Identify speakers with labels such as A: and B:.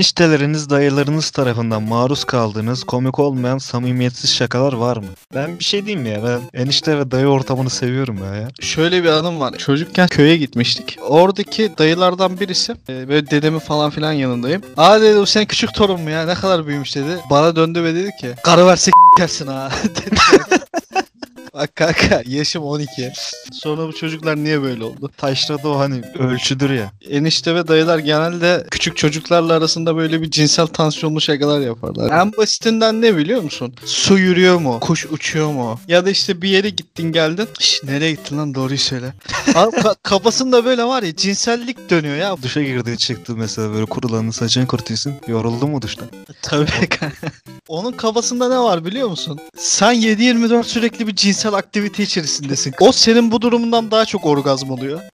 A: Enişteleriniz, dayılarınız tarafından maruz kaldığınız komik olmayan samimiyetsiz şakalar var mı? Ben bir şey diyeyim mi ya ben enişte ve dayı ortamını seviyorum ben ya.
B: Şöyle bir anım var. Çocukken köye gitmiştik. Oradaki dayılardan birisi e, böyle dedemi falan filan yanındayım. Aa dedi o senin küçük torun mu ya ne kadar büyümüş dedi. Bana döndü ve dedi ki karı verse kersin ha dedi. Bak kanka yaşım 12. Sonra bu çocuklar niye böyle oldu?
A: Taşrada o hani ölçüdür ya.
B: Enişte ve dayılar genelde küçük çocuklarla arasında böyle bir cinsel tansiyonlu şakalar yaparlar. En basitinden ne biliyor musun? Su yürüyor mu? Kuş uçuyor mu? Ya da işte bir yere gittin geldin. Şş, nereye gittin lan doğruyu söyle. Abi ka- kafasında böyle var ya cinsellik dönüyor ya.
A: Duşa girdi çıktı mesela böyle kurulanın saçını kurtuyorsun. Yoruldun mu duştan?
B: Tabii kanka. Onun kafasında ne var biliyor musun? Sen 7-24 sürekli bir cinsel aktivite içerisindesin. O senin bu durumundan daha çok orgazm oluyor.